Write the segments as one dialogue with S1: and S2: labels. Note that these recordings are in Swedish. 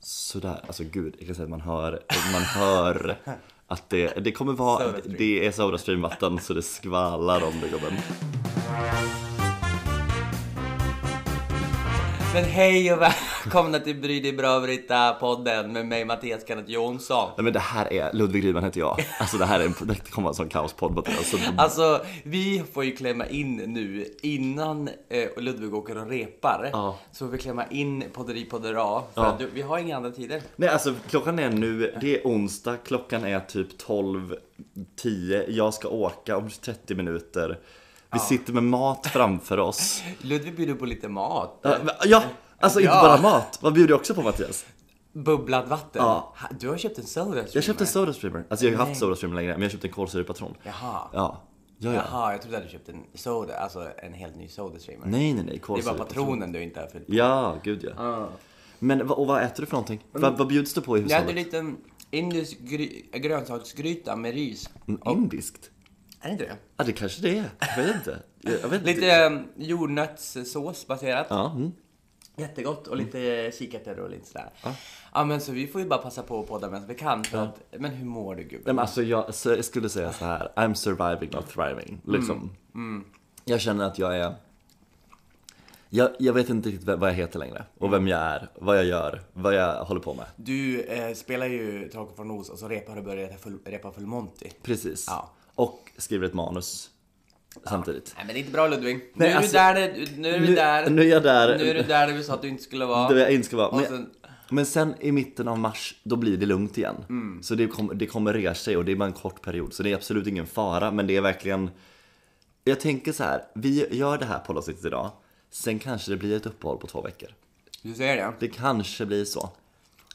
S1: sådär. Alltså gud, jag kan säga att man hör, man hör att det, det kommer vara,
S2: Sodastream.
S1: det är Sodastream-vatten så det skvallar om det gubben.
S2: Men hej och välkomna till Bry dig bra Britta-podden med mig Mattias Kenneth Jonsson.
S1: Nej men det här är, Ludvig Rydman heter jag. Alltså det här är en, det kommer vara en sån kaospodd Mattias. Så
S2: Alltså, vi får ju klämma in nu innan eh, Ludvig åker och repar.
S1: Ja.
S2: Så får vi klämma in podderi poddera. För
S1: Ja.
S2: att du, vi har inga andra tider.
S1: Nej alltså klockan är nu, det är onsdag, klockan är typ 12.10, jag ska åka om 30 minuter. Vi sitter med mat framför oss.
S2: Ludvig bjuder på lite mat.
S1: Ja, men- Ja, alltså inte
S2: Ja.
S1: bara mat. Vad bjuder jag också på Mattias?
S2: Bubblad vatten.
S1: Ja.
S2: Ha- Du har köpt en Sodastream.
S1: Jag köpte en Sodastreamer. Alltså jag har ju haft
S2: Nej.
S1: Sodastreamer länge men jag köpte en kolsyrepatron.
S2: Jaha.
S1: Ja. Ja, ja.
S2: Jaha, jag trodde att du köpte en soda, alltså en helt ny Sodastreamer.
S1: Nej, nej, nej.
S2: Det är bara
S1: Kolsyrepatron.
S2: patronen du inte har fyllt på.
S1: Ja, gud ja. Men vad- och vad äter du för någonting?
S2: Mm.
S1: Vad, vad bjuds du på i
S2: Jag hade en
S1: hushållet?
S2: liten indisk gry- grönsaksgryta med ris.
S1: Mm, Indiskt?
S2: Är det inte det?
S1: Ja, det kanske det är. Jag vet inte. Jag vet
S2: Lite
S1: inte.
S2: eh, jordnötssås baserat.
S1: Ja, mm.
S2: Jättegott och lite eh, kikärtor och lite sådär. Ja. men så vi får ju bara passa på att podda medan vi kan. För att, men hur mår du
S1: Nej,
S2: gubben?
S1: men alltså jag, så jag skulle säga så här. I'm surviving not thriving.
S2: Mm.
S1: Liksom. Jag känner att jag är... Jag, jag vet inte riktigt vem- vad jag heter längre. Och vem jag är, vad jag gör, vad jag håller på med.
S2: Du eh, spelar ju Taken från Oz och så repar du börjat full, repa full Monty.
S1: Precis.
S2: Ja.
S1: Och skriver ett manus samtidigt.
S2: Nej men det är inte bra Ludvig.
S1: Nej,
S2: nu, är
S1: alltså-
S2: du där, nu är du där.
S1: nu är jag där.
S2: Nu är du där du sa att du inte skulle vara.
S1: Det var jag inte ska vara.
S2: Och
S1: Men,
S2: sen-
S1: men sen i mitten av mars, då blir det lugnt igen.
S2: Mm.
S1: Så det, kom, det kommer resa sig och det är bara en kort period. Så det är absolut ingen fara, men det är verkligen... Jag tänker så här, vi gör det här poddavsnittet idag. Sen kanske det blir ett uppehåll på två veckor.
S2: Du ser det?
S1: Det kanske blir så.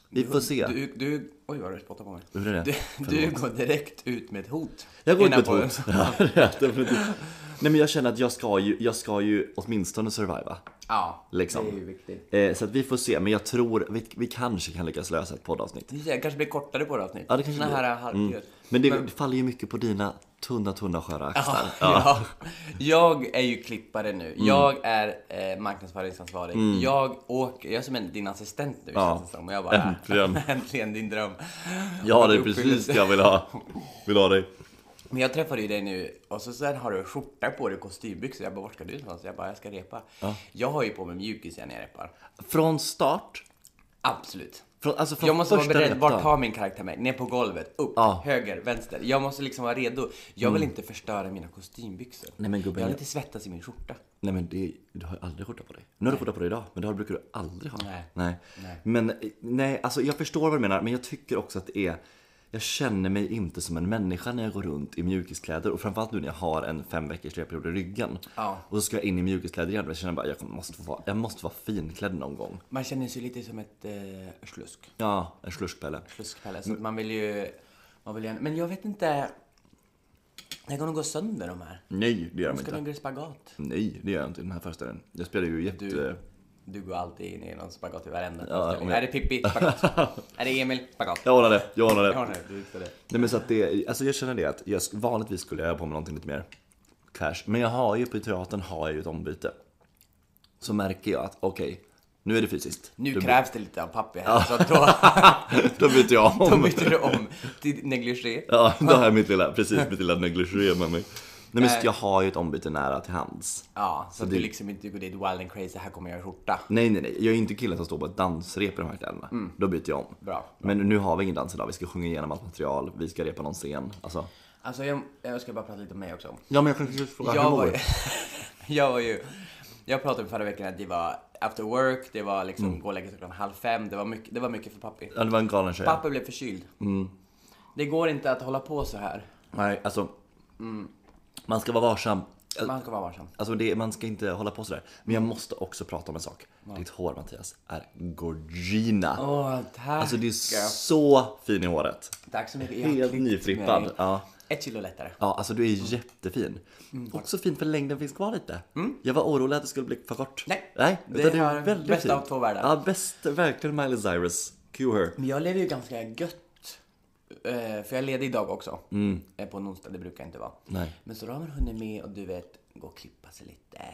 S1: Vi får se.
S2: Du, du, oj vad du spottar på mig.
S1: Hur är det?
S2: Du, du går direkt ut med ett hot.
S1: Jag går ut med
S2: Innan
S1: ett hot.
S2: podden.
S1: Ja, det är definitivt. Nej men jag känner att jag ska ju, jag ska ju åtminstone surviva.
S2: Ja,
S1: Liksom.
S2: det är ju viktigt.
S1: Eh, så att vi får se, men jag tror vi, vi kanske kan lyckas lösa ett poddavsnitt.
S2: Det kanske blir kortare på det avsnitt.
S1: Ja, det kanske
S2: Såna
S1: blir. Mm.
S2: här halvdjur.
S1: Men det faller ju mycket på dina tunna, tunna sköra axlar.
S2: Ja. Jag är ju klippare nu.
S1: Mm.
S2: Jag är eh, marknadsföringsansvarig. Jag åker, jag är som en, din assistent nu
S1: Ja.
S2: känns det som. Och jag bara,
S1: Äntligen.
S2: äntligen din dröm.
S1: Ja, det är
S2: Uppfylldes.
S1: precis det jag vill ha. Vill ha dig.
S2: Men jag träffade ju dig nu och så sen har du skjorta på dig och kostymbyxor. Jag bara, vart ska du någonstans? Jag bara, jag ska repa. Jag har ju på mig mjukis när jag repar.
S1: Från start,
S2: Absolut.
S1: från, alltså från
S2: Jag måste vara
S1: första
S2: beredd.
S1: reptan.
S2: Vart tar min karaktär mig? Ner på golvet, upp,
S1: Ja. Mm.
S2: höger, vänster. Jag måste liksom vara redo. Jag vill inte förstöra mina kostymbyxor.
S1: Nej, men gubben,
S2: jag har
S1: jag-
S2: lite svettas i min skjorta.
S1: Nej men det, du har ju aldrig skjorta på dig. Nu har du skjorta på dig idag, men det har- brukar du aldrig ha.
S2: Nej.
S1: nej.
S2: Nej.
S1: Men eh, nej, alltså jag förstår vad du menar, men jag tycker också att det är jag känner mig inte som en människa när jag går runt i mjukiskläder och framförallt nu när jag har en fem veckors reperiod i ryggen.
S2: Ja.
S1: Och så ska jag in i mjukiskläder igen och jag känner bara jag måste få vara, jag måste vara finklädd någon gång.
S2: Man känner sig lite som ett eh, slusk.
S1: Ja, en sluskpelle.
S2: Sluskpelle.
S1: Mm.
S2: Så att man vill ju... Man vill gärna, men jag vet inte... Det kommer nog gå sönder de här.
S1: Nej, det gör de
S2: Ska
S1: inte.
S2: de göra spagat?
S1: Nej, det gör jag inte i den här föreställningen. Jag spelar ju jätte...
S2: Du, du går alltid in i någon spagat i varenda
S1: Ja,
S2: föreställning.
S1: om jag-
S2: Är det Pippi? Spagat. är det Emil? Spagat.
S1: Jag ordnar det, jag ordnar
S2: Jag har
S1: det.
S2: det, du fixar det.
S1: Nej men så att det, alltså jag känner det att jag, vanligtvis skulle jag ha på mig någonting lite mer cash. Men jag har ju, på teatern har jag ju ett ombyte. Så märker jag att okej, nu är det fysiskt.
S2: Nu
S1: då,
S2: krävs det lite av pappi här. Så att då,
S1: då byter jag
S2: då
S1: om.
S2: byter du om till negligé.
S1: Ja, då har jag mitt lilla, precis mitt lilla negligé med mig. Nej men så att jag har ju ett ombyte nära till hands.
S2: Ja, så, att
S1: det-
S2: du liksom inte går dit wild and crazy, här kommer jag i skjorta.
S1: Nej nej nej, jag är inte killen som står på ett dansrep i de här kläderna. Då byter jag om.
S2: Bra.
S1: Men nu har vi ingen dans idag, vi ska sjunga igenom allt material, vi ska repa någon scen. Alltså,
S2: Alltså jag, jag ska bara prata lite om mig också.
S1: Ja men jag kanske skulle fråga
S2: Jag var, ju, jag var ju... Jag pratade förra veckan att det var after work, det var
S1: Mm.
S2: liksom gå och lägga sig klockan halv fem, det var mycket, det var mycket för pappi.
S1: Ja Mm. det var en galen tjej.
S2: Pappi blev förkyld. Det går inte att hålla på så här.
S1: Nej alltså. Man ska vara varsam.
S2: Man ska vara varsam.
S1: Alltså det, man ska inte hålla på sådär. Men jag måste också prata om en sak. Ditt hår Mattias är gorgina.
S2: Åh, tack!
S1: Alltså det är så fin i håret.
S2: Tack så mycket. Jag har
S1: Helt
S2: klippt
S1: nyfrippad.
S2: mig.
S1: Ja.
S2: Ett kilo lättare.
S1: ja, alltså du är jättefin.
S2: Mm,
S1: Också fin för längden finns kvar lite. Jag var orolig att det skulle bli för kort.
S2: Nej.
S1: Nej
S2: Det
S1: utan du
S2: har
S1: är väldigt
S2: bästa
S1: fin.
S2: av två världar.
S1: Ja, bäst, verkligen Miley Cyrus. Cue her.
S2: Men jag lever ju ganska gött. Eh, För jag är ledig idag också. Eh, På en onsdag, det brukar jag inte vara.
S1: Mm. Nej.
S2: Men så då har man hunnit med och du vet, gå och klippa sig lite.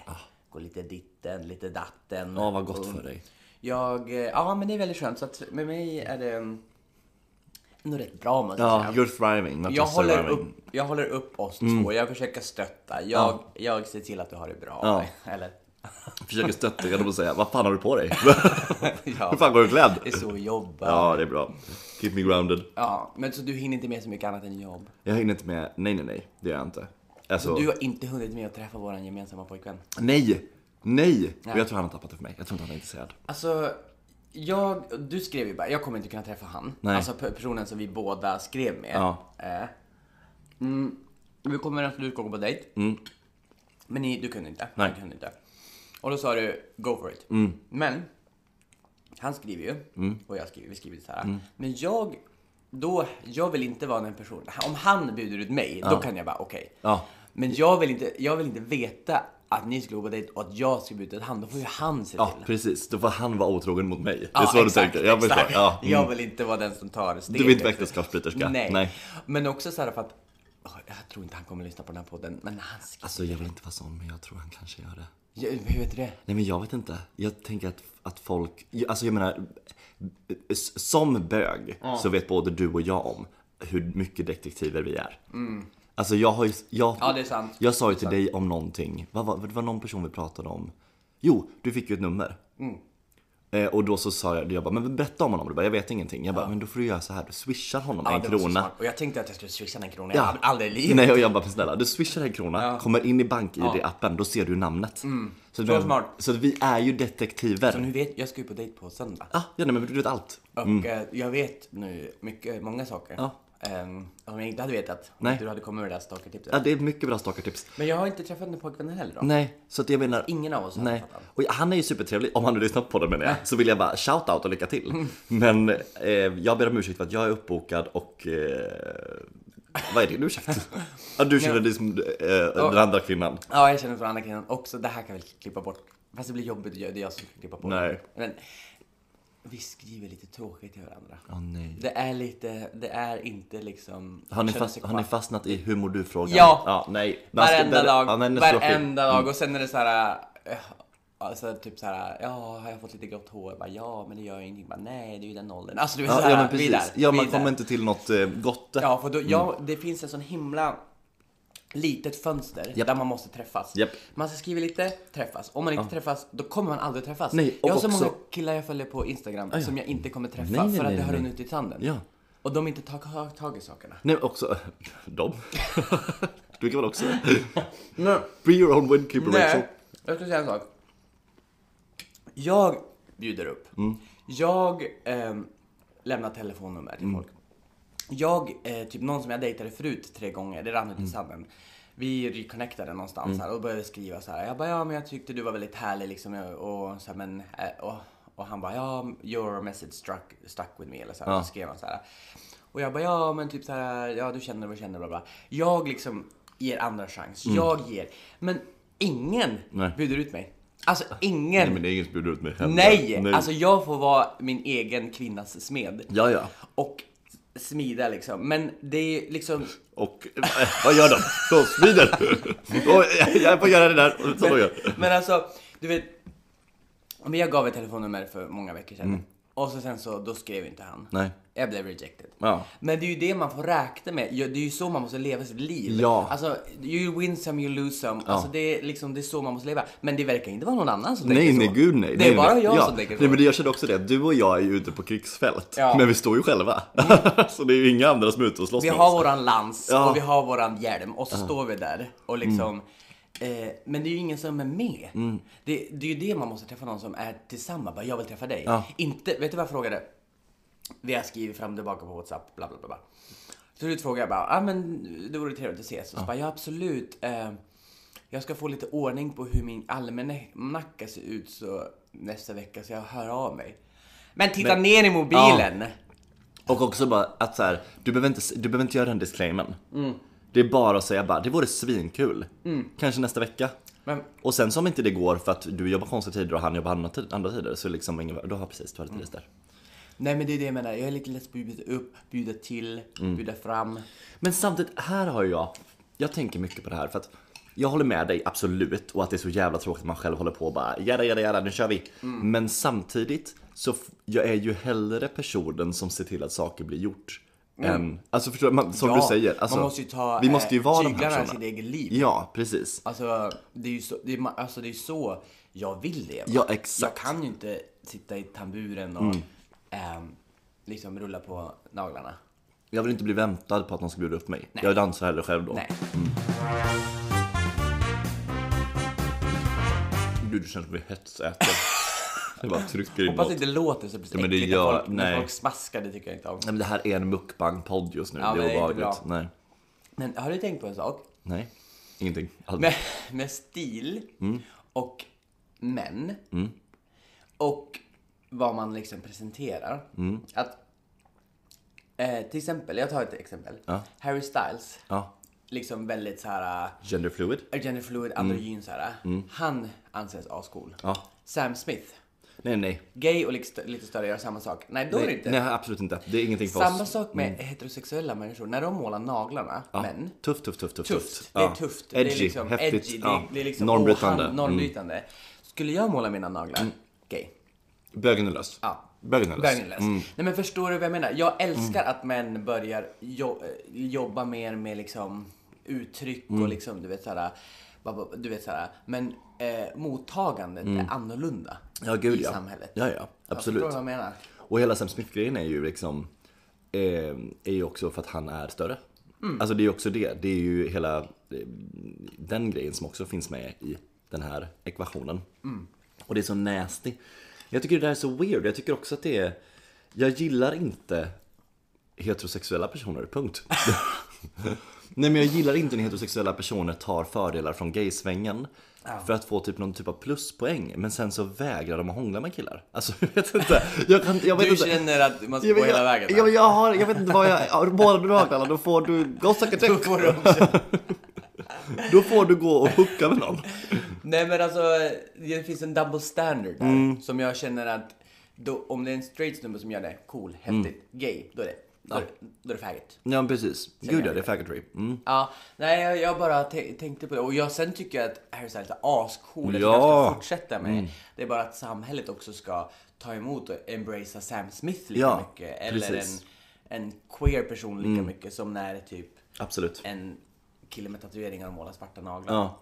S2: Gå lite ditten, lite datten.
S1: Ah. Ja, vad gott
S2: Och-
S1: för dig.
S2: Jag, eh, ja men det är väldigt skönt. Så att med mig är det mm, ändå rätt bra om man ska
S1: Ja,
S2: säga.
S1: you're thriving, not
S2: Jag
S1: just
S2: håller,
S1: surviving.
S2: upp, jag håller upp oss
S1: Mm.
S2: två, jag försöker stötta. Jag, jag ser till att du har det bra.
S1: Ja.
S2: Eller,
S1: Försöker stötta dig och säga, vad fan har du på dig? Hur
S2: ja,
S1: fan går du klädd?
S2: det är så vi jobbar. Ja.
S1: Ja, det är bra. Keep me grounded.
S2: men så du hinner inte med så mycket annat än jobb.
S1: Jag hinner inte med, nej nej nej, det gör jag inte. Alltså,
S2: Du har inte hunnit med att träffa vår gemensamma pojkvän.
S1: nej, nej! Och jag tror han har tappat det för mig, jag tror inte han är intresserad.
S2: Alltså, jag, du skrev ju bara, jag kommer inte kunna träffa han.
S1: Nej.
S2: Alltså pe- personen som vi båda skrev med.
S1: Ja.
S2: Eh, mm, vi kommer absolut gå på dejt. Men ni, du kunde inte.
S1: Mm. Nej. Mm.
S2: Du kunde inte. Och då sa du, go for it. Men, han skriver ju. Och jag skriver, vi skriver så här.
S1: Mm.
S2: Men jag, då, jag vill inte vara den personen. Om han bjuder ut mig, då kan jag bara, okej.
S1: Ja.
S2: Men jag vill, inte, jag vill inte veta att ni skulle gå på dejt och att jag skulle bjuda ut han. Då får ju han se
S1: Ja,
S2: till.
S1: precis. Då får han vara otrogen mot mig. Det är
S2: Ja,
S1: så
S2: exakt,
S1: du tänker. Jag förstår.
S2: exakt.
S1: Ja. Mm.
S2: Jag vill inte vara den som tar steget.
S1: Du vill inte vara äktenskapsbryterska?
S2: Nej.
S1: Nej.
S2: Men också så här för att, åh, jag tror inte han kommer lyssna på den här podden, men han ska,
S1: Alltså jag vill inte vara sån, men jag tror han kanske gör det.
S2: Ja, hur vet du det?
S1: Nej men jag vet inte. Jag tänker att, att folk, alltså jag menar, s- som bög så vet både du och jag om hur mycket detektiver vi är. Alltså jag har ju, jag,
S2: Mm. Ja, det är sant.
S1: jag sa ju till dig om någonting, vad var, det var någon person vi pratade om. Jo, du fick ju ett nummer.
S2: Mm.
S1: Eh, och då så sa jag, jag bara, men berätta om honom. Du bara, jag vet ingenting. Jag bara, men då får du göra så här, du swishar honom en
S2: det var så
S1: krona.
S2: smart. Och jag tänkte att jag skulle swisha den kronan,
S1: Ja.
S2: ja. aldrig i livet.
S1: Nej och jag bara, men snälla du swishar en krona, kommer in i bank-id-appen, då ser du namnet. Så,
S2: Mm. Så smart.
S1: så att vi är ju detektiver.
S2: Nu vet, jag ska ju på dejt på söndag.
S1: Ja, ja nej, men du vet allt.
S2: Och eh, jag vet nu mycket, många saker.
S1: Ja.
S2: Ehm, om jag inte hade vetat. Om
S1: Nej.
S2: Du hade kommit med det där stalkertipset.
S1: Ja, det är mycket bra stalkertips.
S2: Men jag har inte träffat den pojkvännen heller då.
S1: Nej, så att jag menar...
S2: Ingen av oss har
S1: Nej.
S2: träffat honom.
S1: Och han är ju supertrevlig, om han nu lyssnar på det menar jag. Så vill jag bara shout-out och lycka till.
S2: Mm.
S1: Men eh, jag ber om ursäkt för att jag är uppbokad och... Eh, vad är din ursäkt? ja, du känner dig som eh, den andra kvinnan.
S2: Ja, jag känner för andra kvinnan också. Det här kan vi klippa bort. Fast det blir jobbigt, det är jag som ska klippa bort.
S1: Nej.
S2: Men vi skriver lite tråkigt till varandra.
S1: Åh nej.
S2: Det är lite, det är inte liksom...
S1: Har ni,
S2: känner
S1: fast,
S2: sig
S1: har ni
S2: kvar.
S1: fastnat i hur mår du-frågan?
S2: Ja.
S1: nej. Man ska-
S2: Varenda
S1: där-
S2: dag,
S1: ja, nej, den är så tråkig.
S2: varenda dag. Och sen är det så här... eh, Alltså typ så här, ja har jag fått lite grått hår? Jag Bara, ja men det gör ju ingenting. Jag Bara, Nej det är ju den åldern. Alltså du vet så
S1: Ja,
S2: här,
S1: ja men
S2: vi är där,
S1: precis. Ja,
S2: vi
S1: man
S2: är där.
S1: kommer inte till något eh, gott.
S2: Ja, för då, ja, det finns en sån himla litet fönster
S1: Japp.
S2: där man måste träffas.
S1: Japp.
S2: Man ska skriva lite, träffas. Om man inte träffas, då kommer man aldrig träffas.
S1: Nej, och
S2: jag har så
S1: också- Ah,
S2: många killar jag följer på Instagram som jag inte kommer träffa
S1: Nej, nej,
S2: för att
S1: nej,
S2: det har
S1: nej.
S2: runnit ut i sanden.
S1: Ja.
S2: Och de inte tar tag, tag i sakerna.
S1: Nej, men också dem. du kan väl också Be your own windkeeper Rachel.
S2: Nej, jag ska säga en sak. Jag bjuder upp.
S1: Mm.
S2: Jag ehm, lämnar telefonnummer till
S1: Mm.
S2: folk. Jag, eh, typ någon som jag dejtade förut tre gånger, det rann ut i
S1: Mm.
S2: sanden. Vi reconnectade någonstans här och började skriva så här. Jag bara, ja men jag tyckte du var väldigt härlig liksom. Och, och, så här, men, eh, och, och han bara, ja your message struck, stuck with me. Eller så här,
S1: Ja.
S2: så skrev han så här. Och jag bara, ja men typ så här, ja du känner vad du känner, bla bla. Jag liksom ger andra chans. Jag ger. Men ingen
S1: Mm. Nej.
S2: bjuder ut mig. Alltså
S1: Nej,
S2: ingen.
S1: men det är ingen som bjuder ut mig heller.
S2: Nej! Alltså jag får vara min egen kvinnas smed.
S1: Ja, ja.
S2: Och smida liksom. Men det är liksom...
S1: Och eh, vad gör de? De smider! Oj, eh, jag får göra det där. Och Så då gör.
S2: Men alltså, du vet. Men jag gav ett telefonnummer för många veckor sedan. Och så sen så, då skrev inte han.
S1: Mm. Nej.
S2: Jag blev rejected.
S1: Ja.
S2: Men det är ju det man får räkna med. Ja, Det är ju så man måste leva sitt liv.
S1: Ja.
S2: Alltså, you win some, you lose some. Alltså det är liksom, det är så man måste leva. Men det verkar inte vara någon annan som
S1: Nej,
S2: tänker
S1: nej,
S2: så.
S1: gud nej.
S2: Det är
S1: nej,
S2: bara
S1: nej.
S2: jag
S1: ja.
S2: som tänker så.
S1: nej, men det- Jag känner också det. Du och jag är ju ute på krigsfält.
S2: Ja. Mm.
S1: Men vi står ju själva. så det är ju inga andra som är ute och slåss
S2: Vi
S1: med
S2: har
S1: oss.
S2: våran lans
S1: Ja.
S2: och vi har våran hjälm och så står vi där och liksom eh, Men det är ju ingen som är med. Det, det är ju det man måste träffa någon som är tillsammans. Bara, jag vill träffa dig.
S1: Ja.
S2: Inte, vet du vad jag frågade? Vi har skrivit fram och tillbaka på Whatsapp, bla bla bla. bla. Så du frågade jag bara, ah, men det vore trevligt att ses. Och så bara, ja absolut. Eh, jag ska få lite ordning på hur min almanacka ser ut så nästa vecka så jag hör av mig. Men titta ner i mobilen!
S1: Och också bara att så här, du, behöver inte, du behöver inte göra den disclaimen. Det är bara att säga bara, det vore svinkul. Kanske nästa vecka.
S2: Men
S1: Och sen som inte det går för att du jobbar konstiga tider och han jobbar andra, tid- andra tider så liksom ingen, då har precis, du har lite där.
S2: Nej men det är det jag menar, jag är lite less på att bjuda upp, bjuda
S1: Mm.
S2: till, bjuda fram.
S1: Men samtidigt, här har jag, jag tänker mycket på det här för att jag håller med dig absolut och att det är så jävla tråkigt att man själv håller på och bara jada jada jada nu kör vi.
S2: Mm.
S1: Men samtidigt så f- jag är ju hellre personen som ser till att saker blir gjort. Än, alltså förstår du, man, som du säger, alltså,
S2: Mm. man måste ju ta
S1: vi måste ju
S2: eh,
S1: vara de här
S2: tyglarna i
S1: personerna.
S2: sitt eget liv.
S1: Ja, precis.
S2: Alltså, det är ju så, det är, ma- alltså, det är så jag vill leva.
S1: Ja, exakt. Mm.
S2: Jag kan ju inte sitta i tamburen och ehm, liksom rulla på naglarna.
S1: Jag vill inte bli väntad på att någon ska bjuda upp mig. Jag dansar hellre själv då.
S2: Nej.
S1: Gud, det känns som vi hetsäter. Jag bara trycker in
S2: Hoppas
S1: något.
S2: det inte låter så precis
S1: men det
S2: äckligt
S1: gör-
S2: när, folk, när
S1: nej.
S2: folk smaskar, det tycker jag inte om.
S1: Nej, men det här är en mukbang-podd just nu.
S2: Ja,
S1: det
S2: men det
S1: är
S2: är inte
S1: obehagligt. Nej.
S2: Men har du tänkt på en sak?
S1: Nej. Ingenting. Aldrig.
S2: Med, med stil
S1: Mm.
S2: och män och vad man liksom presenterar.
S1: Mm.
S2: Att, eh, till exempel, jag tar ett exempel. Harry Styles,
S1: Ja.
S2: liksom väldigt så här
S1: Gender fluid?
S2: eh, gender fluid,
S1: Mm.
S2: androgyn så här. eh, Han anses ascool.
S1: Ja.
S2: Sam Smith,
S1: Nej, nej.
S2: gay och lite, stö- lite större, gör samma sak. Nej, då är det
S1: Nej,
S2: inte.
S1: nej, absolut inte. Det är ingenting för
S2: Samma
S1: oss. Mm.
S2: sak med heterosexuella människor. När de målar naglarna, män,
S1: Tufft, tufft, tufft, tufft.
S2: tufft. Det
S1: Ja.
S2: är tufft.
S1: Edgy,
S2: det är liksom
S1: häftigt.
S2: edgy. Det,
S1: ja.
S2: är- det är liksom
S1: Normbrytande. Mm.
S2: normbrytande. normbrytande. Skulle jag måla mina naglar? Gay.
S1: Bögen är lös.
S2: Ja.
S1: Bögen är lös.
S2: Bögnelös. Nej men förstår du vad jag menar? Jag älskar
S1: Mm.
S2: att män börjar jo- eh, jobba mer med liksom uttryck
S1: Mm.
S2: och liksom du vet såhär, ba- ba- du vet såhär. Men eh, mottagandet är annorlunda
S1: Mm. Ja, gud
S2: i
S1: ja.
S2: samhället.
S1: Ja, ja. Absolut.
S2: Förstår du vad jag menar?
S1: Och hela Sam Smith-grejen är ju liksom eh, är ju också för att han är större. Alltså det är ju också det. Det är ju hela eh, den grejen som också finns med i den här ekvationen. Och det är så nasty. Jag tycker det där är så weird. Jag tycker också att det är... Jag gillar inte heterosexuella personer, punkt. Nej men jag gillar inte när heterosexuella personer tar fördelar från gaysvängen för att få typ någon typ av pluspoäng men sen så vägrar de att hångla med killar. Alltså jag vet inte. Jag, kan, jag vet
S2: Du
S1: inte.
S2: känner att man ska
S1: Ja,
S2: gå
S1: men
S2: hela
S1: jag-
S2: vägen?
S1: Ja, men jag, har, jag vet inte vad jag... ja, Båda du alla, då får du... Go suck a dick.
S2: Då får du också
S1: Då får du gå och hooka med någon.
S2: Nej men alltså, det finns en double standard där.
S1: Mm.
S2: Som jag känner att då, om det är en straight snubbe som gör det, cool,
S1: Mm.
S2: häftigt, gay, då är det, då är, det- då är det faggot.
S1: Ja men precis. Gud ja, det är faggotry. Mm.
S2: Ja, nej jag, jag bara te- tänkte på det och jag, sen tycker jag att Harry Styles är ascool, det
S1: Ja. Mm.
S2: som jag ska fortsätta med. Det är bara att samhället också ska ta emot och embracea Sam Smith lika
S1: Ja,
S2: mycket. Eller en,
S1: precis. Mm.
S2: en queer person lika mycket som när typ
S1: Absolut.
S2: en kille med tatueringar och målar svarta naglar.
S1: Ja.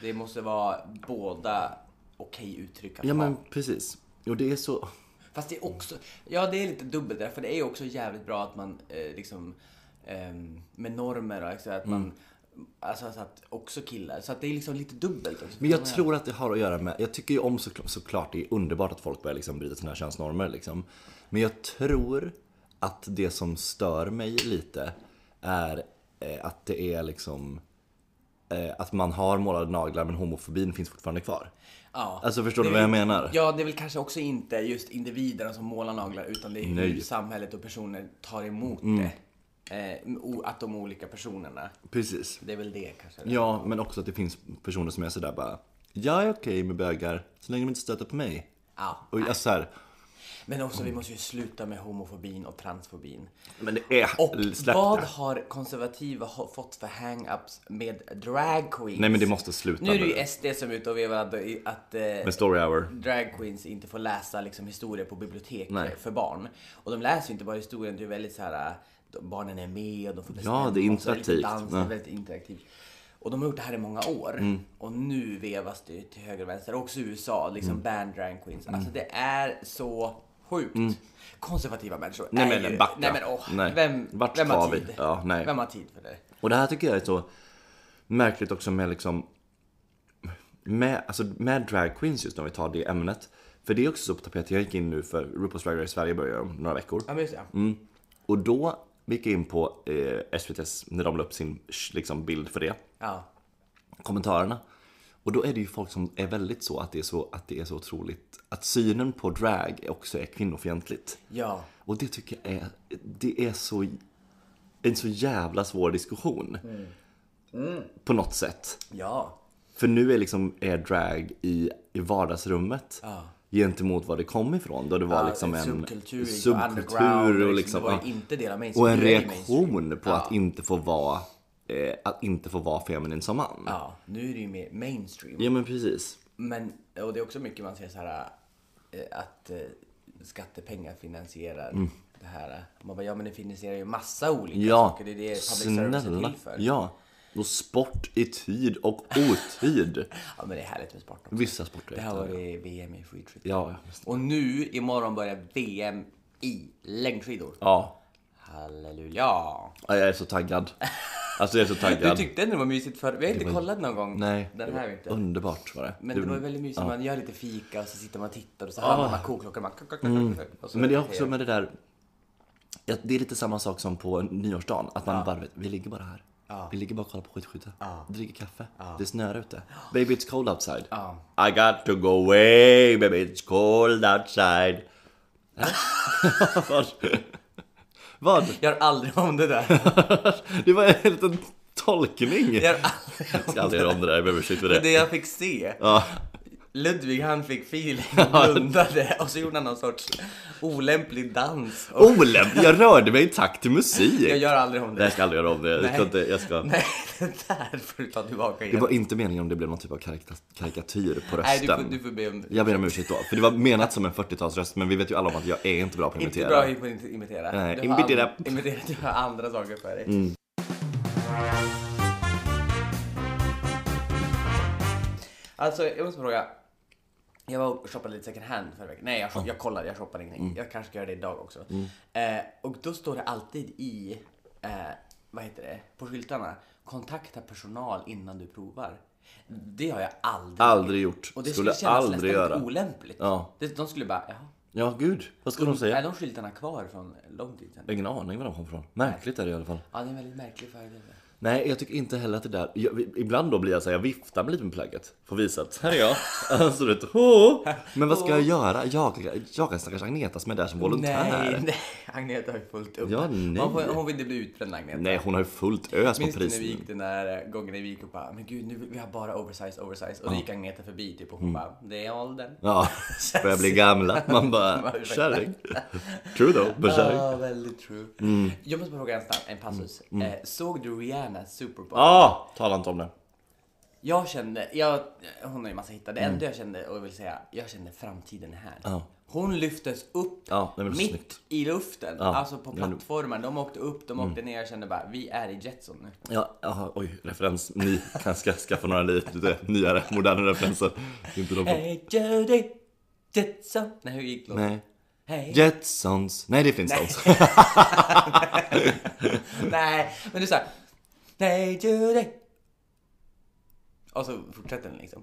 S2: Det måste vara båda okej uttryck att
S1: Ja
S2: ha.
S1: men precis. Och det är så...
S2: Fast det är också, ja det är lite dubbelt där, för det är ju också jävligt bra att man eh, liksom ehm, med normer och alltså, att man,
S1: Mm.
S2: alltså så att också killar, så att det är liksom lite dubbelt också.
S1: Men jag tror att det har att göra med, jag tycker ju om såklart, såklart det är underbart att folk börjar liksom bryta sina könsnormer liksom. Men jag tror att det som stör mig lite är eh, att det är liksom eh, att man har målade naglar men homofobin finns fortfarande kvar.
S2: ja.
S1: Alltså förstår du
S2: Det
S1: vad
S2: är
S1: jag
S2: väl-
S1: menar?
S2: Ja, det är väl kanske också inte just individerna som målar naglar utan det är hur
S1: Nej. Mm.
S2: samhället och personer tar emot det. Eh, o- att de olika personerna,
S1: Precis.
S2: det är väl det kanske.
S1: Ja, men också att det finns personer som är sådär bara Jag är okej med bögar så länge de inte stöter på mig.
S2: Ja.
S1: Och jag så här,
S2: Men också vi måste ju sluta med homofobin och transfobin.
S1: men det är
S2: Och
S1: släpp
S2: vad
S1: det.
S2: har konservativa ho- fått för hang-ups med drag queens?
S1: Nej men det måste sluta
S2: Nu är det ju SD som är ute och vevar att, att eh,
S1: med story hour.
S2: drag queens inte får läsa liksom, historia på bibliotek
S1: Nej.
S2: för barn. Och de läser ju inte bara historien, det är väldigt så här, eh, de- barnen är med och de får bestämma.
S1: det är
S2: och så lite
S1: interaktivt.
S2: Dans, det
S1: Ja. Mm.
S2: är väldigt interaktivt. Och de har gjort det här i många år. Och nu vevas det ju till höger och vänster. Också i USA, liksom
S1: Mm.
S2: ban drag queens. Alltså det är så sjukt. Konservativa människor
S1: Mm. Nej,
S2: är
S1: men
S2: ju...
S1: backa.
S2: Nej men åh,
S1: Nej.
S2: vem,
S1: Vart
S2: vem
S1: tar
S2: har
S1: vi?
S2: tid?
S1: Ja, nej.
S2: Vem har tid för det?
S1: Och det här tycker jag är så märkligt också med liksom med, alltså med drag queens just när vi tar det ämnet. För det är också så på tapeten. Jag gick in nu för RuPaul's Drag Race Sverige börjar om några veckor.
S2: Ja men just det.
S1: Mm. Och då gick jag in på eh, SVT's när de la upp sin liksom, bild för det.
S2: Ja.
S1: Kommentarerna. Och då är det ju folk som är väldigt så att det är så, att det är så otroligt att synen på drag också är kvinnofientligt.
S2: Ja.
S1: Och det tycker jag är, det är så, en så jävla svår diskussion. På något sätt.
S2: Ja.
S1: För nu är liksom är drag i, i vardagsrummet gentemot var det kom ifrån. Då det var
S2: Ja,
S1: liksom en
S2: subkultur, liksom
S1: subkultur
S2: underground,
S1: och,
S2: liksom,
S1: liksom,
S2: det var
S1: ja.
S2: ju inte del av mainstream.
S1: och en
S2: det är ju mainstream.
S1: reaktion på att inte få vara eh, att inte få vara feminin som man. Ja,
S2: Ja, nu är det ju mer mainstream.
S1: men precis.
S2: Men, och det är också mycket man ser så här eh, att eh, skattepengar finansierar det här. Man bara, ja men det finansierar ju massa olika
S1: Mm. Ja,
S2: saker. Det är det public service är till för. Ja.
S1: Ja, och sport i tid och otid.
S2: men det är härligt med sport också.
S1: Vissa sporter.
S2: Det här var det VM i skidskytte.
S1: Ja,
S2: Och nu imorgon börjar VM i längdskidor.
S1: ja.
S2: Halleluja!
S1: Ja, Jag är så taggad. Alltså jag är så
S2: Du
S1: taggad.
S2: tyckte ändå det var mysigt förr. Vi har inte kollat någon gång.
S1: Nej.
S2: Den här inte.
S1: Underbart var det.
S2: Men det var ju väldigt mysigt. Man gör lite fika och så sitter man och tittar och så hör man bara koklockan. Man... och så-
S1: Ah. Mm. Men det är också med det där, att det är lite samma sak som på nyårsdagen, att man bara vet, vi ligger bara här. Vi ligger bara och kollar på skidskytte. Dricker kaffe. Det snöar ute. Baby it's cold outside. I got to go away baby it's cold outside. Äh? Vad? Vad?
S2: Jag har aldrig om det där.
S1: Det var en liten tolkning.
S2: Jag
S1: Jag
S2: har aldrig om
S1: ska aldrig göra om det där, jag behöver shit för
S2: det.
S1: det.
S2: Det jag fick se.
S1: Ja.
S2: Ludvig han fick feeling och blundade och så gjorde han någon sorts olämplig dans.
S1: Oh.
S2: Och
S1: Olämpligt, jag rörde mig i takt till
S2: jag
S1: musik.
S2: gör aldrig om
S1: Det här
S2: det.
S1: ska jag aldrig göra om. Jag ska
S2: Nej.
S1: inte, jag ska...
S2: Nej, det där får du ta tillbaka
S1: Det
S2: igen.
S1: var inte meningen om det blev någon typ av karika- karikatyr på
S2: Nej, du får,
S1: rösten.
S2: du får be om...
S1: Jag ber om ursäkt då, för det var menat som en 40-talsröst men vi vet ju alla om att jag är inte bra på att
S2: Inte
S1: imitera.
S2: bra på att imitera.
S1: Nej,
S2: Du har and-
S1: imitera. Mm.
S2: imitera. Du har andra saker för dig. Alltså, jag måste fråga. Jag var och shoppade lite second hand förra veckan. Nej, jag, shop- jag kollade, jag shoppade ingenting.
S1: Mm.
S2: Jag kanske ska göra det idag också. Eh, och då står det alltid i, eh, vad heter det, på skyltarna. Kontakta personal innan du provar. Det har jag aldrig.
S1: Aldrig gjort.
S2: Och det
S1: Skulle
S2: skulle, kännas
S1: aldrig
S2: nästan
S1: göra.
S2: lite olämpligt.
S1: Ja.
S2: Det, de skulle bara, jaha.
S1: Ja, gud. Vad ska de
S2: Är
S1: säga?
S2: de skyltarna kvar från lång tid sedan?
S1: Jag har ingen aning var de kom ifrån. Märkligt är det i alla fall.
S2: Ja, det är en väldigt märklig förebild.
S1: Nej, jag tycker inte heller att det där... Jag, ibland då blir jag så här, jag viftar med lite med plagget. Får visa att här är jag. Alltså, du vet, "Åh." Men vad ska jag göra? Jag, jag kan stackars Agneta som är där som volontär.
S2: Nej,
S1: Nej,
S2: nej. Agneta har ju fullt upp.
S1: Ja, nej.
S2: Hon, får, hon vill inte bli utbränd, Agneta.
S1: hon har ju fullt ös på
S2: Minns du när vi
S1: priset.
S2: gick den där eh, gången när vi gick och bara, men gud, nu, vi har bara oversize, oversize. Och då gick Agneta förbi typ och
S1: Mm.
S2: hon bara, det är åldern.
S1: Ja, börjar bli gamla. Man bara, kärring. True though, men kärring.
S2: Ja, väldigt true.
S1: Mm.
S2: Jag måste bara fråga en, snabb, en passus. Eh, såg du Rihannas Super Bowl?
S1: Ja, tala inte om det.
S2: Jag kände, jag, hon har ju massa hittar. Det enda jag kände, och jag vill säga, jag kände framtiden är här.
S1: Mm. Ja.
S2: Hon lyftes upp
S1: Ja, det är väl
S2: mitt
S1: snyggt.
S2: i luften,
S1: Ja.
S2: alltså på
S1: Ja, men- Mm.
S2: plattformen. De åkte upp, de åkte ner. Jag kände bara, vi är i Jetson nu.
S1: Ja, aha, oj, referens. Ni kan ska skaffa några lite nyare, moderna referenser. Inte de på...
S2: Hey Judy, Jetson. Nej, hur gick låten?
S1: Nej.
S2: Hey.
S1: Jetsons. Nej, det finns Stones.
S2: Nej, men du sa, nej Judy. Och så fortsätter den liksom.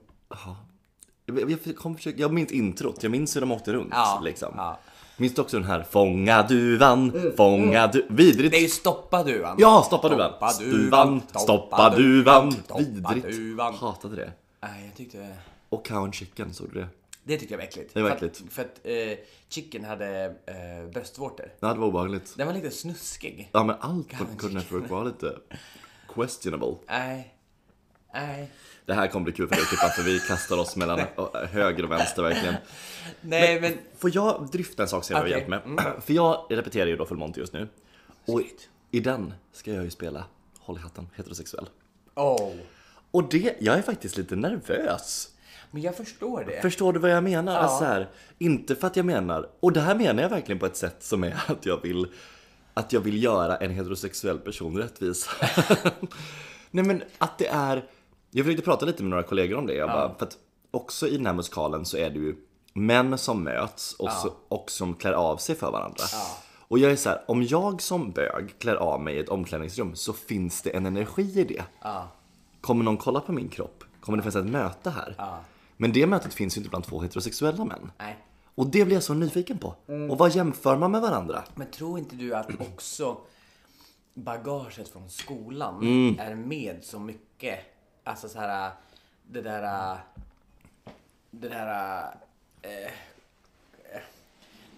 S1: Jag, jag, kom försöka, jag minns introt, jag minns hur de åkte runt.
S2: Ja,
S1: Liksom.
S2: ja. Mm.
S1: Minns du också den här Fånga duvan, fånga du... Vidrigt!
S2: Det är ju stoppa duvan.
S1: Ja, stoppa duvan!
S2: Stoppa duvan,
S1: Stuvan,
S2: stoppa
S1: stoppa duvan!
S2: stoppa
S1: Vidrigt!
S2: duvan.
S1: Hatade det.
S2: Nej, jag tyckte...
S1: Och cow and chicken, såg du det?
S2: Det tyckte jag var äckligt.
S1: Det var
S2: För
S1: äckligt.
S2: Att, för att eh, chicken hade eh, bröstvårtor.
S1: Ja, det var obehagligt.
S2: Den var lite snuskig.
S1: Ja, men allt på
S2: and
S1: Good Network var lite questionable.
S2: Nej. Nej.
S1: Det här kommer bli kul för dig Kippa, för vi kastar oss mellan ö- höger och vänster verkligen.
S2: Nej men...
S1: Får jag drifta en sak som jag har
S2: Okej.
S1: hjälpt med? För jag repeterar ju då Full Monty just nu. Och i den ska jag ju spela, håll i hatten, heterosexuell.
S2: Oh.
S1: Och det, jag är faktiskt lite nervös.
S2: Men jag förstår det.
S1: Förstår du vad jag menar? Alltså så här, inte för att jag menar, och det här menar jag verkligen på ett sätt som är att jag vill, att jag vill göra en heterosexuell person rättvis. Nej men att det är, jag försökte prata lite med några kollegor om det, jag bara, för att också i den här musikalen så är det ju män som möts och, så, och som klär av sig för varandra. Och jag är så här, om jag som bög klär av mig i ett omklädningsrum så finns det en energi i det.
S2: Ja.
S1: Kommer någon kolla på min kropp? Kommer det finnas ett möte här? Men det mötet finns ju inte bland två heterosexuella män.
S2: Nej.
S1: Och det blir jag så nyfiken på. Och vad jämför man med varandra?
S2: Men tror inte du att också bagaget från skolan
S1: Mm.
S2: är med så mycket? Alltså så här det där... äh, Det där... äh, Eh,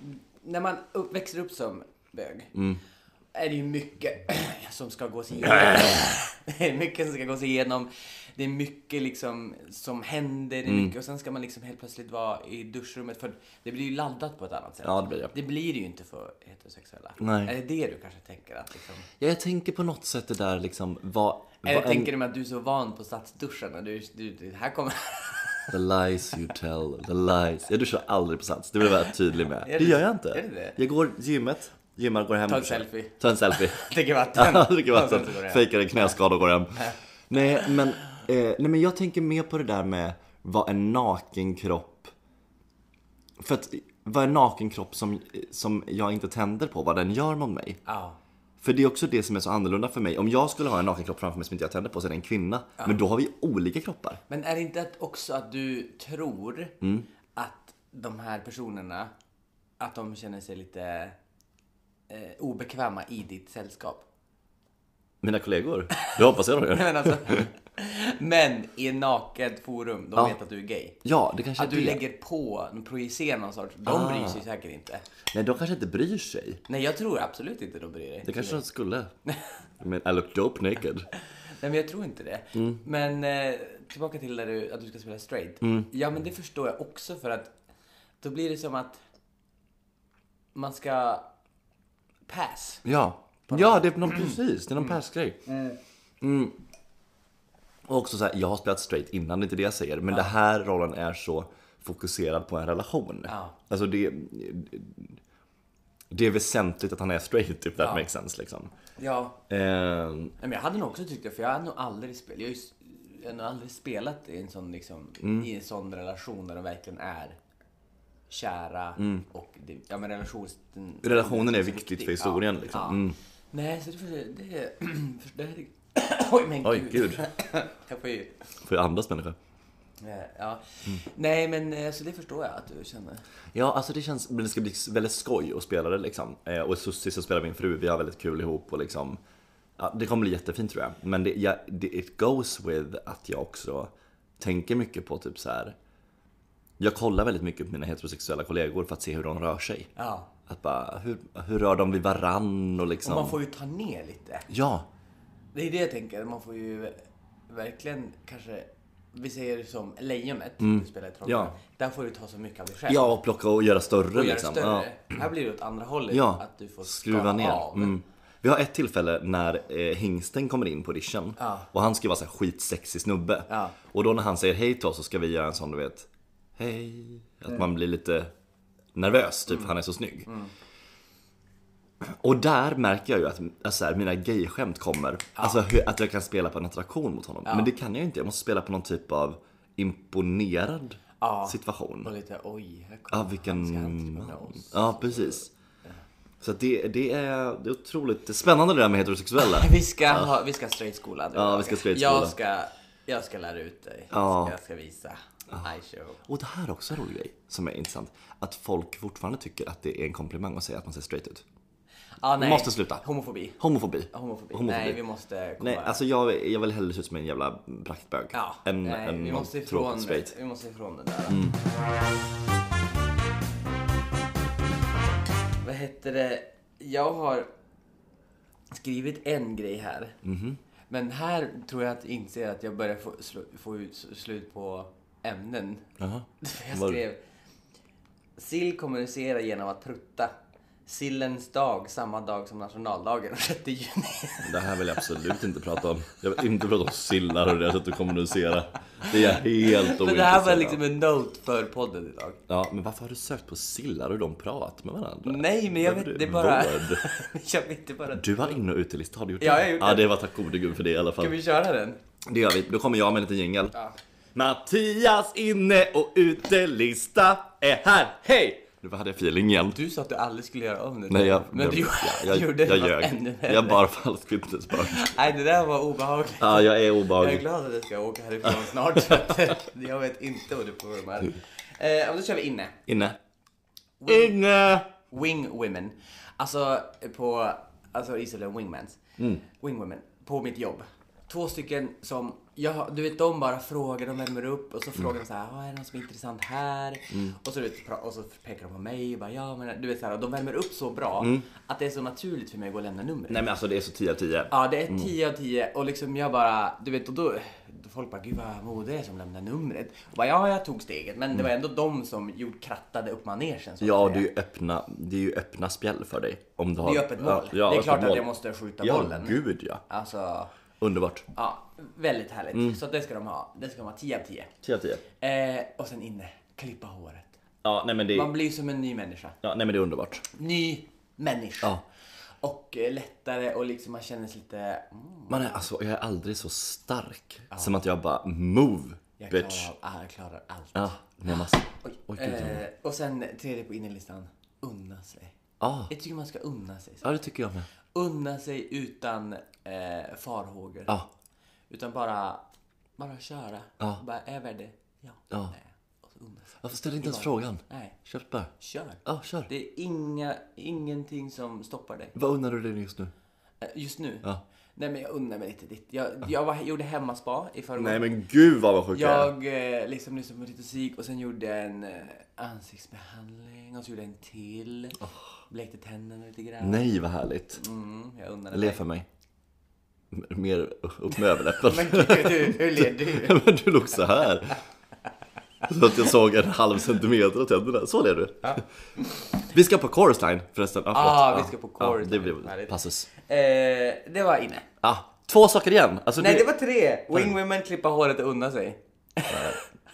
S1: Mm.
S2: när man upp, växer upp som bög är det ju mycket som ska gås igenom. Det är mycket som ska gås igenom. Det är mycket liksom som händer.
S1: Mm.
S2: Det är mycket, och sen ska man liksom helt plötsligt vara i duschrummet. För det blir ju laddat på ett annat sätt.
S1: Ja, det blir det.
S2: Det blir det ju inte för heterosexuella.
S1: Nej.
S2: Är det det du kanske tänker? Att liksom,
S1: Ja, jag tänker på något sätt det där liksom, vad...
S2: eller
S1: vad en-
S2: tänker du med att du är så van på stadsduschen? Och du, du, det här kommer...
S1: The lies you tell, the lies. Ja, du kör aldrig på sats, det vill jag vara tydlig med.
S2: Är
S1: Det
S2: det-
S1: gör jag inte.
S2: är det det?
S1: Jag går gymmet, gymmar, går hem
S2: Ta en
S1: och kör.
S2: selfie.
S1: Ta en selfie.
S2: Dricker vatten.
S1: Ja, dricker
S2: Och sen
S1: vatten,
S2: så går det hem.
S1: fejkar en knäskada och går hem. Nej men, eh, nej men jag tänker mer på det där med vad en naken kropp För att vad en naken kropp som, som jag inte tänder på, vad den gör mot mig.
S2: Ja.
S1: För det är också det som är så annorlunda för mig. Om jag skulle ha en naken kropp framför mig som inte jag tänder på så är det en kvinna. Men då har vi olika kroppar.
S2: Men är det inte att också att du tror
S1: Mm.
S2: att de här personerna, att de känner sig lite eh, obekväma i ditt sällskap?
S1: Mina kollegor, det hoppas jag de gör.
S2: Men, alltså, men i en naket forum, de
S1: Ja.
S2: vet att du är gay.
S1: Ja, det kanske
S2: Att
S1: är
S2: du
S1: det. Ah.
S2: lägger på, projicerar någon sorts, de bryr sig säkert inte.
S1: Nej, de kanske inte bryr sig.
S2: Nej, jag tror absolut inte de bryr
S1: Det
S2: dig.
S1: kanske de skulle. Men I look dope naked.
S2: Nej, men jag tror inte det.
S1: Mm.
S2: Men eh, tillbaka till där du, att du ska spela straight.
S1: Mm.
S2: Ja, men det förstår jag också för att då blir det som att man ska pass.
S1: Ja, ja det är någon, precis. Det är någon persgrej. Mm. Och också så här, jag har spelat straight innan, det är inte det jag säger. Men det här rollen är så fokuserad på en relation.
S2: Ja.
S1: Alltså det... Det är väsentligt att han är straight, if that makes sense liksom.
S2: Ja,
S1: Ehm,
S2: Nej, men jag hade nog också tyckt det för jag hade nog aldrig spelat, jag har ju s- jag har nog aldrig spelat i en sån liksom,
S1: Mm.
S2: i en sån relation där de verkligen är kära och det, ja men relationen...
S1: Mm. Relationen är viktigt för historien, liksom. Mm.
S2: Nej, så det, för- det, för- det här, Oj men
S1: Oj, gud.
S2: jag får ju...
S1: Får jag andas människa?
S2: Eh, Ja.
S1: Mm.
S2: Nej men eh, så det förstår jag att du känner.
S1: Ja, alltså det känns, men det ska bli väldigt skoj att spela det liksom. Eh, och Susie som spelar min fru, vi har väldigt kul ihop och liksom. Ja, det kommer bli jättefint tror jag. Men det, ja, det, it goes with att jag också tänker mycket på typ så här. Jag kollar väldigt mycket på mina heterosexuella kollegor för att se hur de rör sig.
S2: Ja.
S1: Att bara, hur, hur rör de vid varann och liksom.
S2: Och man får ju ta ner lite.
S1: Ja,
S2: Det är det jag tänker. Man får ju verkligen kanske, vi säger som lejonet, du spelar i Trollkarlen.
S1: Mm. Ja.
S2: Där får du ta så mycket av dig själv.
S1: ja och plocka och göra större
S2: och göra
S1: liksom.
S2: större.
S1: Ja.
S2: Här blir det åt andra hållet.
S1: Ja,
S2: Att du får
S1: skruva
S2: skala
S1: ner.
S2: av.
S1: Mm. Vi har ett tillfälle när eh, hingsten kommer in på audition
S2: Ja.
S1: och han ska vara en skitsexig snubbe.
S2: Ja.
S1: Och då när han säger hej till oss så ska vi göra en sån du vet, hej. Att man blir lite nervös typ, för han är så snygg.
S2: Mm.
S1: Och där märker jag ju att alltså här, mina gayskämt kommer. Alltså hur, att jag kan spela på en attraktion mot honom. Men det kan jag ju inte, jag måste spela på någon typ av imponerad
S2: Ja.
S1: situation.
S2: Och lite oj, här
S1: Ja,
S2: kommer han, ska han
S1: vilken
S2: springa
S1: man.
S2: oss?
S1: Ja, precis. Så att det, det, är, det är otroligt det är spännande det där med heterosexuella.
S2: Vi ska, ha, vi ska straight skola. du och
S1: Ja,
S2: jag.
S1: vi ska straight skola.
S2: Jag ska, jag ska lära ut dig.
S1: Ja.
S2: Jag, ska, jag ska visa. I show.
S1: Och det här är också en rolig grej som är intressant. Att folk fortfarande tycker att det är en komplimang att säga att man ser straight ut.
S2: Ja, nej.
S1: måste sluta.
S2: Homofobi.
S1: Homofobi.
S2: Homofobi.
S1: Homofobi.
S2: Nej, vi måste komma...
S1: Nej, alltså jag, jag vill hellre se ut som en jävla praktbög.
S2: ja,
S1: än
S2: nej,
S1: än
S2: vi,
S1: någon
S2: måste ifrån,
S1: tråkig straight.
S2: vi måste ifrån den där.
S1: Mm.
S2: Vad heter det? Jag har skrivit en grej här.
S1: Mhm.
S2: Men här tror jag att jag inser att jag börjar få, slå, få ut s- slut på ämnen.
S1: Jaha.
S2: Jag
S1: Vad-
S2: skrev... Sill kommunicerar genom att prutta. Sillens dag, samma dag som nationaldagen, 6 juni.
S1: Det här vill jag absolut inte prata om. Jag vill inte prata om sillar och deras sätt att kommunicera. Det är jag helt
S2: Men det här var
S1: ointresserad
S2: liksom en note för podden idag.
S1: Ja, men varför har du sökt på sillar och de pratat med varandra?
S2: Nej, men jag
S1: Vad
S2: vet, det är bara...
S1: Vård.
S2: jag vet, det är bara...
S1: Du har in och utelista, har du gjort det?
S2: Ja, jag har gjort
S1: Ja,
S2: det.
S1: det var tack gode gud för det i alla fall.
S2: Ska vi köra den?
S1: Det gör vi. Då kommer jag med en liten jingel.
S2: Ja.
S1: Mattias inne och utelista är här, hej! Nu hade jag feeling igen.
S2: Du sa att du aldrig skulle göra om det.
S1: Nej, jag,
S2: Men du
S1: jag, jag,
S2: gjorde
S1: jag,
S2: något
S1: jag
S2: ännu
S1: ljög.
S2: värre.
S1: Jag bar falskt vittnesbörd.
S2: Nej, det där var obehagligt.
S1: Ja, jag är
S2: Jag är
S1: obehaglig.
S2: glad att jag ska åka härifrån snart. så att, eh, jag vet inte vad du programmerar. Eh, ja, men då kör vi inne.
S1: Inne. Inne!
S2: Wing women. Alltså
S1: Mm.
S2: på, alltså Israel Wingmans. Wing women. På mitt jobb. Två stycken som Ja, du vet de bara frågar, de värmer upp och så
S1: Mm.
S2: frågar de så här, "Ah, är det något som är intressant här? Och, så, du vet, pra- och så pekar de på mig och bara, ja men du vet så här, och de värmer upp så bra att det är så naturligt för mig att gå och lämna numret.
S1: Mm. Nej Mm. men alltså det är så 10 av 10.
S2: Ja, det är 10 av 10 och liksom jag bara, du vet, och då, då folk bara, gud vad modig det är som lämnar numret. Och bara, ja, jag tog steget, men det var ändå de som gjort, krattade upp manegen. så att
S1: Mm. Ja,
S2: säga.
S1: det är ju öppna, det är ju öppna spjäll för dig. Om du har,
S2: Det är öppet mål.
S1: Ja, ja,
S2: det är
S1: öppet
S2: klart att
S1: mål.
S2: jag måste skjuta
S1: Ja,
S2: bollen.
S1: gud ja.
S2: Alltså,
S1: Underbart.
S2: ja, väldigt härligt.
S1: Mm.
S2: Så det ska de ha. Det ska de ha 10 av 10.
S1: 10 av 10.
S2: Eh, och sen inne, klippa håret.
S1: Ja, nej men det,
S2: Man
S1: ja,
S2: blir som en ny människa.
S1: nej, men det är underbart.
S2: Ny människa.
S1: Ja.
S2: Och eh, lättare och liksom man känner sig lite... Mm,
S1: Man är, alltså, jag är aldrig så stark som att jag bara move
S2: jag,
S1: bitch.
S2: klarar, ah, jag klarar allt.
S1: Ja, nej, massa.
S2: Oj.
S1: Oj, gud, ja.
S2: eh, och sen tredje på innerlistan, unna sig.
S1: Ja,
S2: Jag tycker man ska unna sig.
S1: ja, det tycker jag med.
S2: Unna sig utan eh, farhågor.
S1: Ja,
S2: Utan bara, bara köra. Bara, är jag värd det? Ja.
S1: Ja.
S2: Nej. Och så unna sig.
S1: varför ställer inte ens frågan?
S2: Nej,
S1: Köp bara.
S2: kör.
S1: Ja, kör.
S2: Det är inga, ingenting som stoppar dig.
S1: Vad undrar du dig just nu?
S2: Eh, Just nu?
S1: Ja.
S2: Nej men jag undrar mig lite ditt. Jag, jag var, gjorde hemmaspa i förrgår.
S1: Nej men gud vad sjuk jag är.
S2: Jag eh, liksom lyssnade på lite musik och sen gjorde jag en eh, ansiktsbehandling och så gjorde jag en till. Blekte tänderna lite grann.
S1: Oh. Nej vad härligt.
S2: Mm, jag undrade
S1: Le för mig. M- Mer upp med överläppen.
S2: Men gud, du, hur ler du?
S1: Men du låg så här. Så att jag såg en halv centimeter av tänderna. Så ler du. Vi ska på Chorus Line förresten. Ja, förlåt.
S2: Ah, vi ska på Chorus
S1: Ja, det
S2: Line.
S1: blir
S2: Härligt.
S1: passus.
S2: Eh, det var inne.
S1: Ah, två saker igen. Alltså,
S2: Nej
S1: det-
S2: det var tre! Wing women klippa håret och unna sig.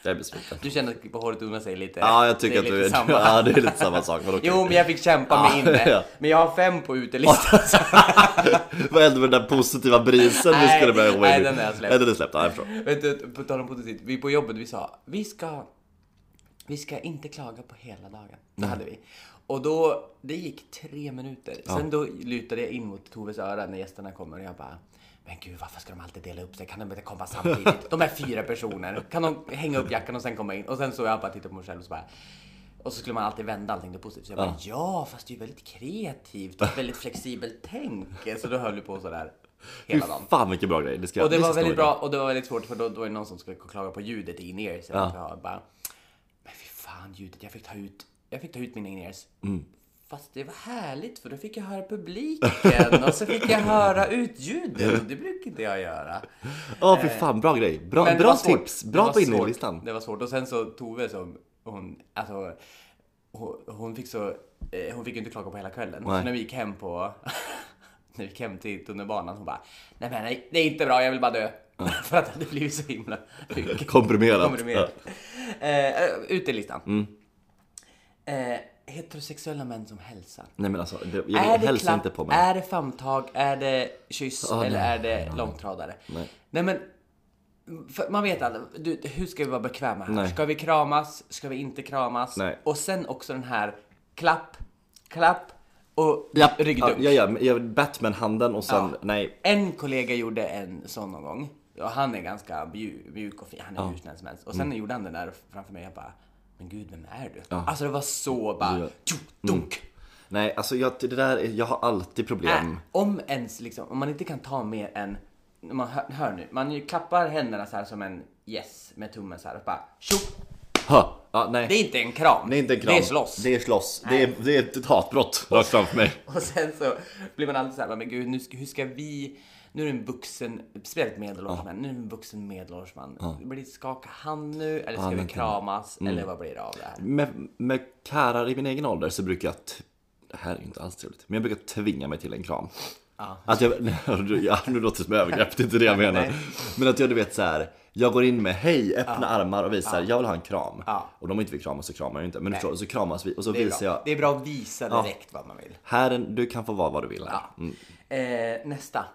S1: Jag är besviken.
S2: Du känner att klippa håret och unna sig lite?
S1: Ja, jag
S2: det
S1: tycker
S2: är
S1: att
S2: lite
S1: du...
S2: samma.
S1: Ja, det är lite samma sak. Men okej.
S2: Jo men jag fick kämpa med
S1: Ja,
S2: inne.
S1: ja.
S2: Men jag har fem på utelistan.
S1: Vad hände med den där positiva brisen vi
S2: Nej,
S1: skulle börja gå in i?
S2: nej, den har jag släppt.
S1: Nej, den är släppt. Ja, jag förstår.
S2: Vet du, på tal om positivt. Vi på jobbet, vi sa vi ska, vi ska inte klaga på hela dagen. Det hade vi. Och då, det gick tre minuter. Sen då lutade jag in mot Toves öra när gästerna kommer och jag bara men gud, varför ska de alltid dela upp sig? Kan de inte komma samtidigt? De är fyra personer. Kan de hänga upp jackan och sen komma in? Och sen så jag bara tittade på mig själv och så bara... Och så skulle man alltid vända allting till positivt. Så jag bara, ja, fast det är ju väldigt kreativt och ett väldigt flexibelt tänk. Så då höll vi på sådär hela dagen.
S1: Fy fan vilken bra grej. Det ska
S2: Och det
S1: jag-
S2: var
S1: ska jag
S2: väldigt
S1: stå i.
S2: bra och det var väldigt svårt för då, då var det någon som skulle klaga på ljudet i in-ears. Ja. Jag bara, men fy fan ljudet, jag fick ta ut, jag fick ta ut mina in-ears. Fast det var härligt för då fick jag höra publiken och så fick jag höra ut ljudet och det brukar inte jag göra.
S1: Ja, fy fan. Bra grej. Bra,
S2: eh, Men det
S1: bra
S2: var svårt.
S1: tips.
S2: Det
S1: Bra
S2: var
S1: på
S2: svårt.
S1: innerlistan.
S2: Det var svårt och sen så Tove som hon, alltså hon, hon fick så, eh, hon fick ju inte klaga på hela kvällen.
S1: Nej.
S2: Så när vi gick hem på, när vi gick hem till tunnelbanan hon bara, nej men nej, det är inte bra, jag vill bara dö. För att det hade blivit så himla mycket.
S1: Komprimerat.
S2: Komprimerat. Eh, eh, utelistan.
S1: Mm.
S2: Eh, heterosexuella män som hälsar.
S1: Nej men alltså, det, jag hälsa inte på mig.
S2: Är det famntag? Är det kyss?
S1: Ah,
S2: eller
S1: nej,
S2: är det långtradare?
S1: Nej.
S2: men... för Man vet aldrig. Du, hur ska vi vara bekväma här?
S1: Nej.
S2: Ska vi kramas? Ska vi inte kramas?
S1: Nej.
S2: Och sen också den här klapp, klapp och
S1: Ja,
S2: ryggdunk.
S1: Ja, ja, ja, Batman-handen och sen,
S2: Ja.
S1: nej.
S2: En kollega gjorde en sån någon gång. Och han är ganska mju- mjuk och fin. Han är hur snäll som helst. Och sen
S1: Mm.
S2: gjorde han den där framför mig. Jag bara, men gud, vem är du? Alltså det var så bara,
S1: Ja. Mm.
S2: tjo, dunk.
S1: Nej, alltså jag, det där, är- jag har alltid problem.
S2: Äh, om ens liksom, om man inte kan ta mer än, man hör, hör nu, man ju klappar händerna så här som en yes med tummen så här och bara tjoff.
S1: Ha. Ja, nej.
S2: Äh. Det är inte en kram.
S1: Det är inte en kram.
S2: Det är slåss.
S1: Det är slåss. Det är, det är ett hatbrott rakt framför mig.
S2: Och sen så blir man alltid så här, men gud, nu ska, hur ska vi, nu är det en vuxen, speciellt medelålders man, nu är det en vuxen medelålders man. Blir det skaka hand nu eller ska vi
S1: vänta.
S2: kramas
S1: Mm.
S2: eller vad blir det av det här?
S1: Med, med karlar i min egen ålder så brukar jag... T- det här är ju inte alls trevligt. Men jag brukar tvinga mig till en kram.
S2: Ja.
S1: Att jag, nej, ja, nu låter det som övergrepp, det är inte det jag menar.
S2: Nej.
S1: Men att jag du vet så här. Jag går in med hej, öppna armar och visar jag vill ha en kram.
S2: Ja.
S1: Och de inte vill krama så kramar jag inte. Men du förstår, så kramas vi och så
S2: Det är,
S1: visar
S2: bra.
S1: jag.
S2: det är bra att visa direkt vad man vill.
S1: Här, är en- du kan få vara vad du vill. här.
S2: Ja. Eh, nästa.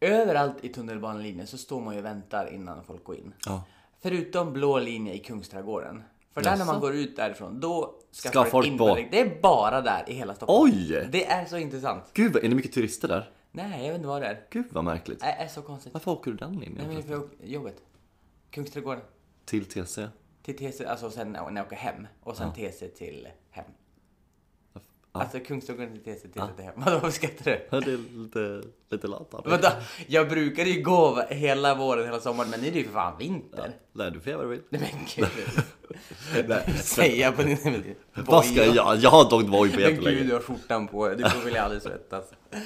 S2: Överallt i tunnelbanelinjen så står man ju och väntar innan folk går in.
S1: Ja.
S2: Förutom blå linje i Kungsträdgården. För där när man går ut därifrån, då ska,
S1: Ska folk
S2: in
S1: på.
S2: direkt. Det är bara där i hela Stockholm.
S1: Oj!
S2: Det är så intressant.
S1: Gud, vad- är det mycket turister där?
S2: Nej, jag vet inte vad det är.
S1: Gud vad märkligt.
S2: Det är så konstigt.
S1: Varför åker du den
S2: Äh. Nej, men
S1: linjen?
S2: det är för jobbet. Kungsträdgården.
S1: Till TC?
S2: Till TC, alltså sen när jag åker hem. Och sen TC till hem. Alltså Kungsträdgården till TC, TC till hem. Vadå, vad skrattar du?
S1: Ja, Det är lite, lite lat av dig.
S2: Vänta, jag brukade ju gå hela våren, hela sommaren, men nu är det ju för fan vinter.
S1: Nej, du får göra vad du vill.
S2: Nej men gud.
S1: Nej.
S2: Säga på din...
S1: Vad ska jag? Jag har inte åkt Voi på
S2: Men gud,
S1: jättelänge.
S2: du har skjortan på dig. Du får väl aldrig svettas. Eh,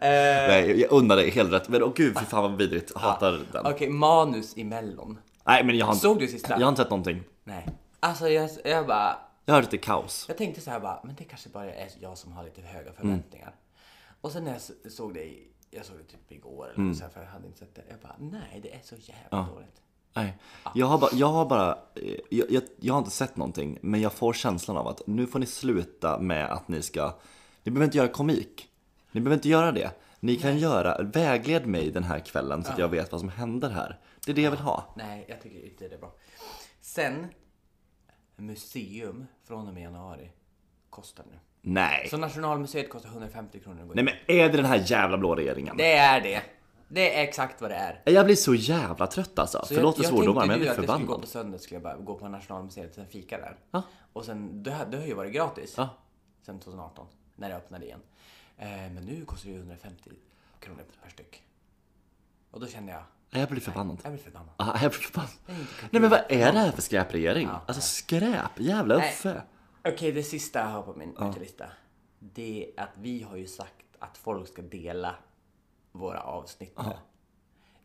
S1: Nej, jag undrar dig helt rätt. Men åh gud, fy fan vad vidrigt. Hatar den.
S2: Okej, manus i Mellon.
S1: Nej, men jag har, inte,
S2: Såg du sista?
S1: jag har inte sett någonting.
S2: Nej. Alltså jag, jag bara...
S1: Jag har hört att det är kaos.
S2: Jag tänkte så här bara, men det kanske bara är jag som har lite
S1: Mm.
S2: höga förväntningar. Och sen när jag s- såg det, i- jag såg det typ igår
S1: Mm.
S2: eller så här, för jag hade inte sett det. Jag bara, nej det är så jävla dåligt.
S1: Nej.
S2: Ah.
S1: Jag har bara, jag har, bara eh, jag, jag, jag har inte sett någonting, men jag får känslan av att nu får ni sluta med att ni ska, ni behöver inte göra komik. Ni behöver inte göra det. Ni kan göra, vägled mig den här kvällen så att jag vet vad som händer här. Det är det jag vill ha.
S2: Nej, jag tycker inte det är bra. Sen, museum från och med januari kostar nu.
S1: Nej.
S2: Så Nationalmuseet kostar 150 kronor att gå in.
S1: Nej men är det den här jävla blå regeringen?
S2: Det är det. Det är exakt vad det är.
S1: Jag blir så jävla trött alltså.
S2: Så
S1: Förlåt för
S2: jag,
S1: svordomar men jag blir
S2: tänkte ju att jag skulle gå
S1: förbannad.
S2: på söndag skulle jag bara gå på Nationalmuseet och sen fika där.
S1: Ja.
S2: Och sen, det, har- det har ju varit gratis.
S1: Ja.
S2: Sen 2018, när det öppnade igen. Eh, men nu kostar det ju 150 kronor per styck. Och då kände jag,
S1: Nej, Jag blir förbannad.
S2: jag blir förbannad.
S1: Ah, jag blir förbannad. Nej men vad är det här för skräpregering? Alltså skräp, jävla
S2: Nej.
S1: Uffe.
S2: Okej, det sista jag har på min utelista. Det är att vi har ju sagt att folk ska dela våra avsnitt.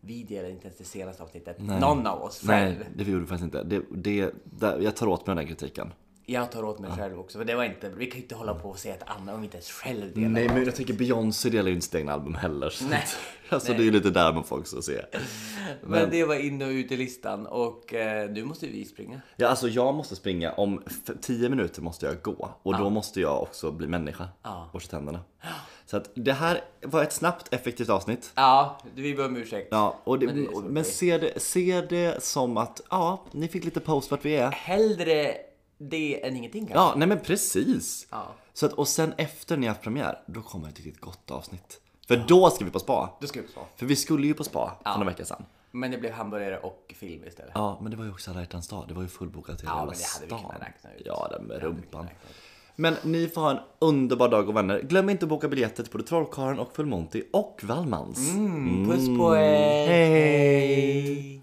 S2: Vi delar inte ens det senaste avsnittet. Någon av oss själv.
S1: Nej, det gjorde vi faktiskt inte. Det, det, där, jag tar åt mig den här kritiken.
S2: Jag tar åt mig själv också. Men det var inte, vi kan ju inte hålla på och säga att andra om vi inte ens själv delar.
S1: Nej, men jag tänker Beyoncé delar ju inte sitt egna album heller. Så
S2: Nej.
S1: Alltså det är ju lite där man får också se.
S2: Men, det var in och utelistan och eh, nu måste vi springa.
S1: Ja, alltså jag måste springa. Om f- 10 minuter måste jag gå. Och då måste jag också bli människa.
S2: Ja.
S1: Borsta tänderna. Så att det här var ett snabbt, effektivt avsnitt.
S2: Ja, vi ber om ursäkt.
S1: Ja, och det,
S2: Men
S1: men,
S2: det är så okej.
S1: se, det, se det som att, ja, ni fick lite post vart vi är.
S2: Hellre det än ingenting kanske.
S1: Ja, nej men precis.
S2: Ja.
S1: Så att, och sen efter ni har haft premiär, då kommer ett riktigt gott avsnitt. För då ska vi på spa.
S2: Då ska vi på spa.
S1: För vi skulle ju på spa för några veckor sedan.
S2: Men det blev hamburgare och film istället.
S1: Ja, men det var ju också alla hjärtans dag. Det var ju fullbokat hela
S2: Ja,
S1: jävla
S2: men det hade vi
S1: stan.
S2: kunnat räkna ut.
S1: Ja, den med rumpan.
S2: kunnat räkna ut.
S1: Men ni får ha en underbar dag och vänner. Glöm inte att boka biljetter till både Trollkarlen och Full Monty och Wallmans.
S2: Mm, puss på er!
S1: Hej.
S2: Hej.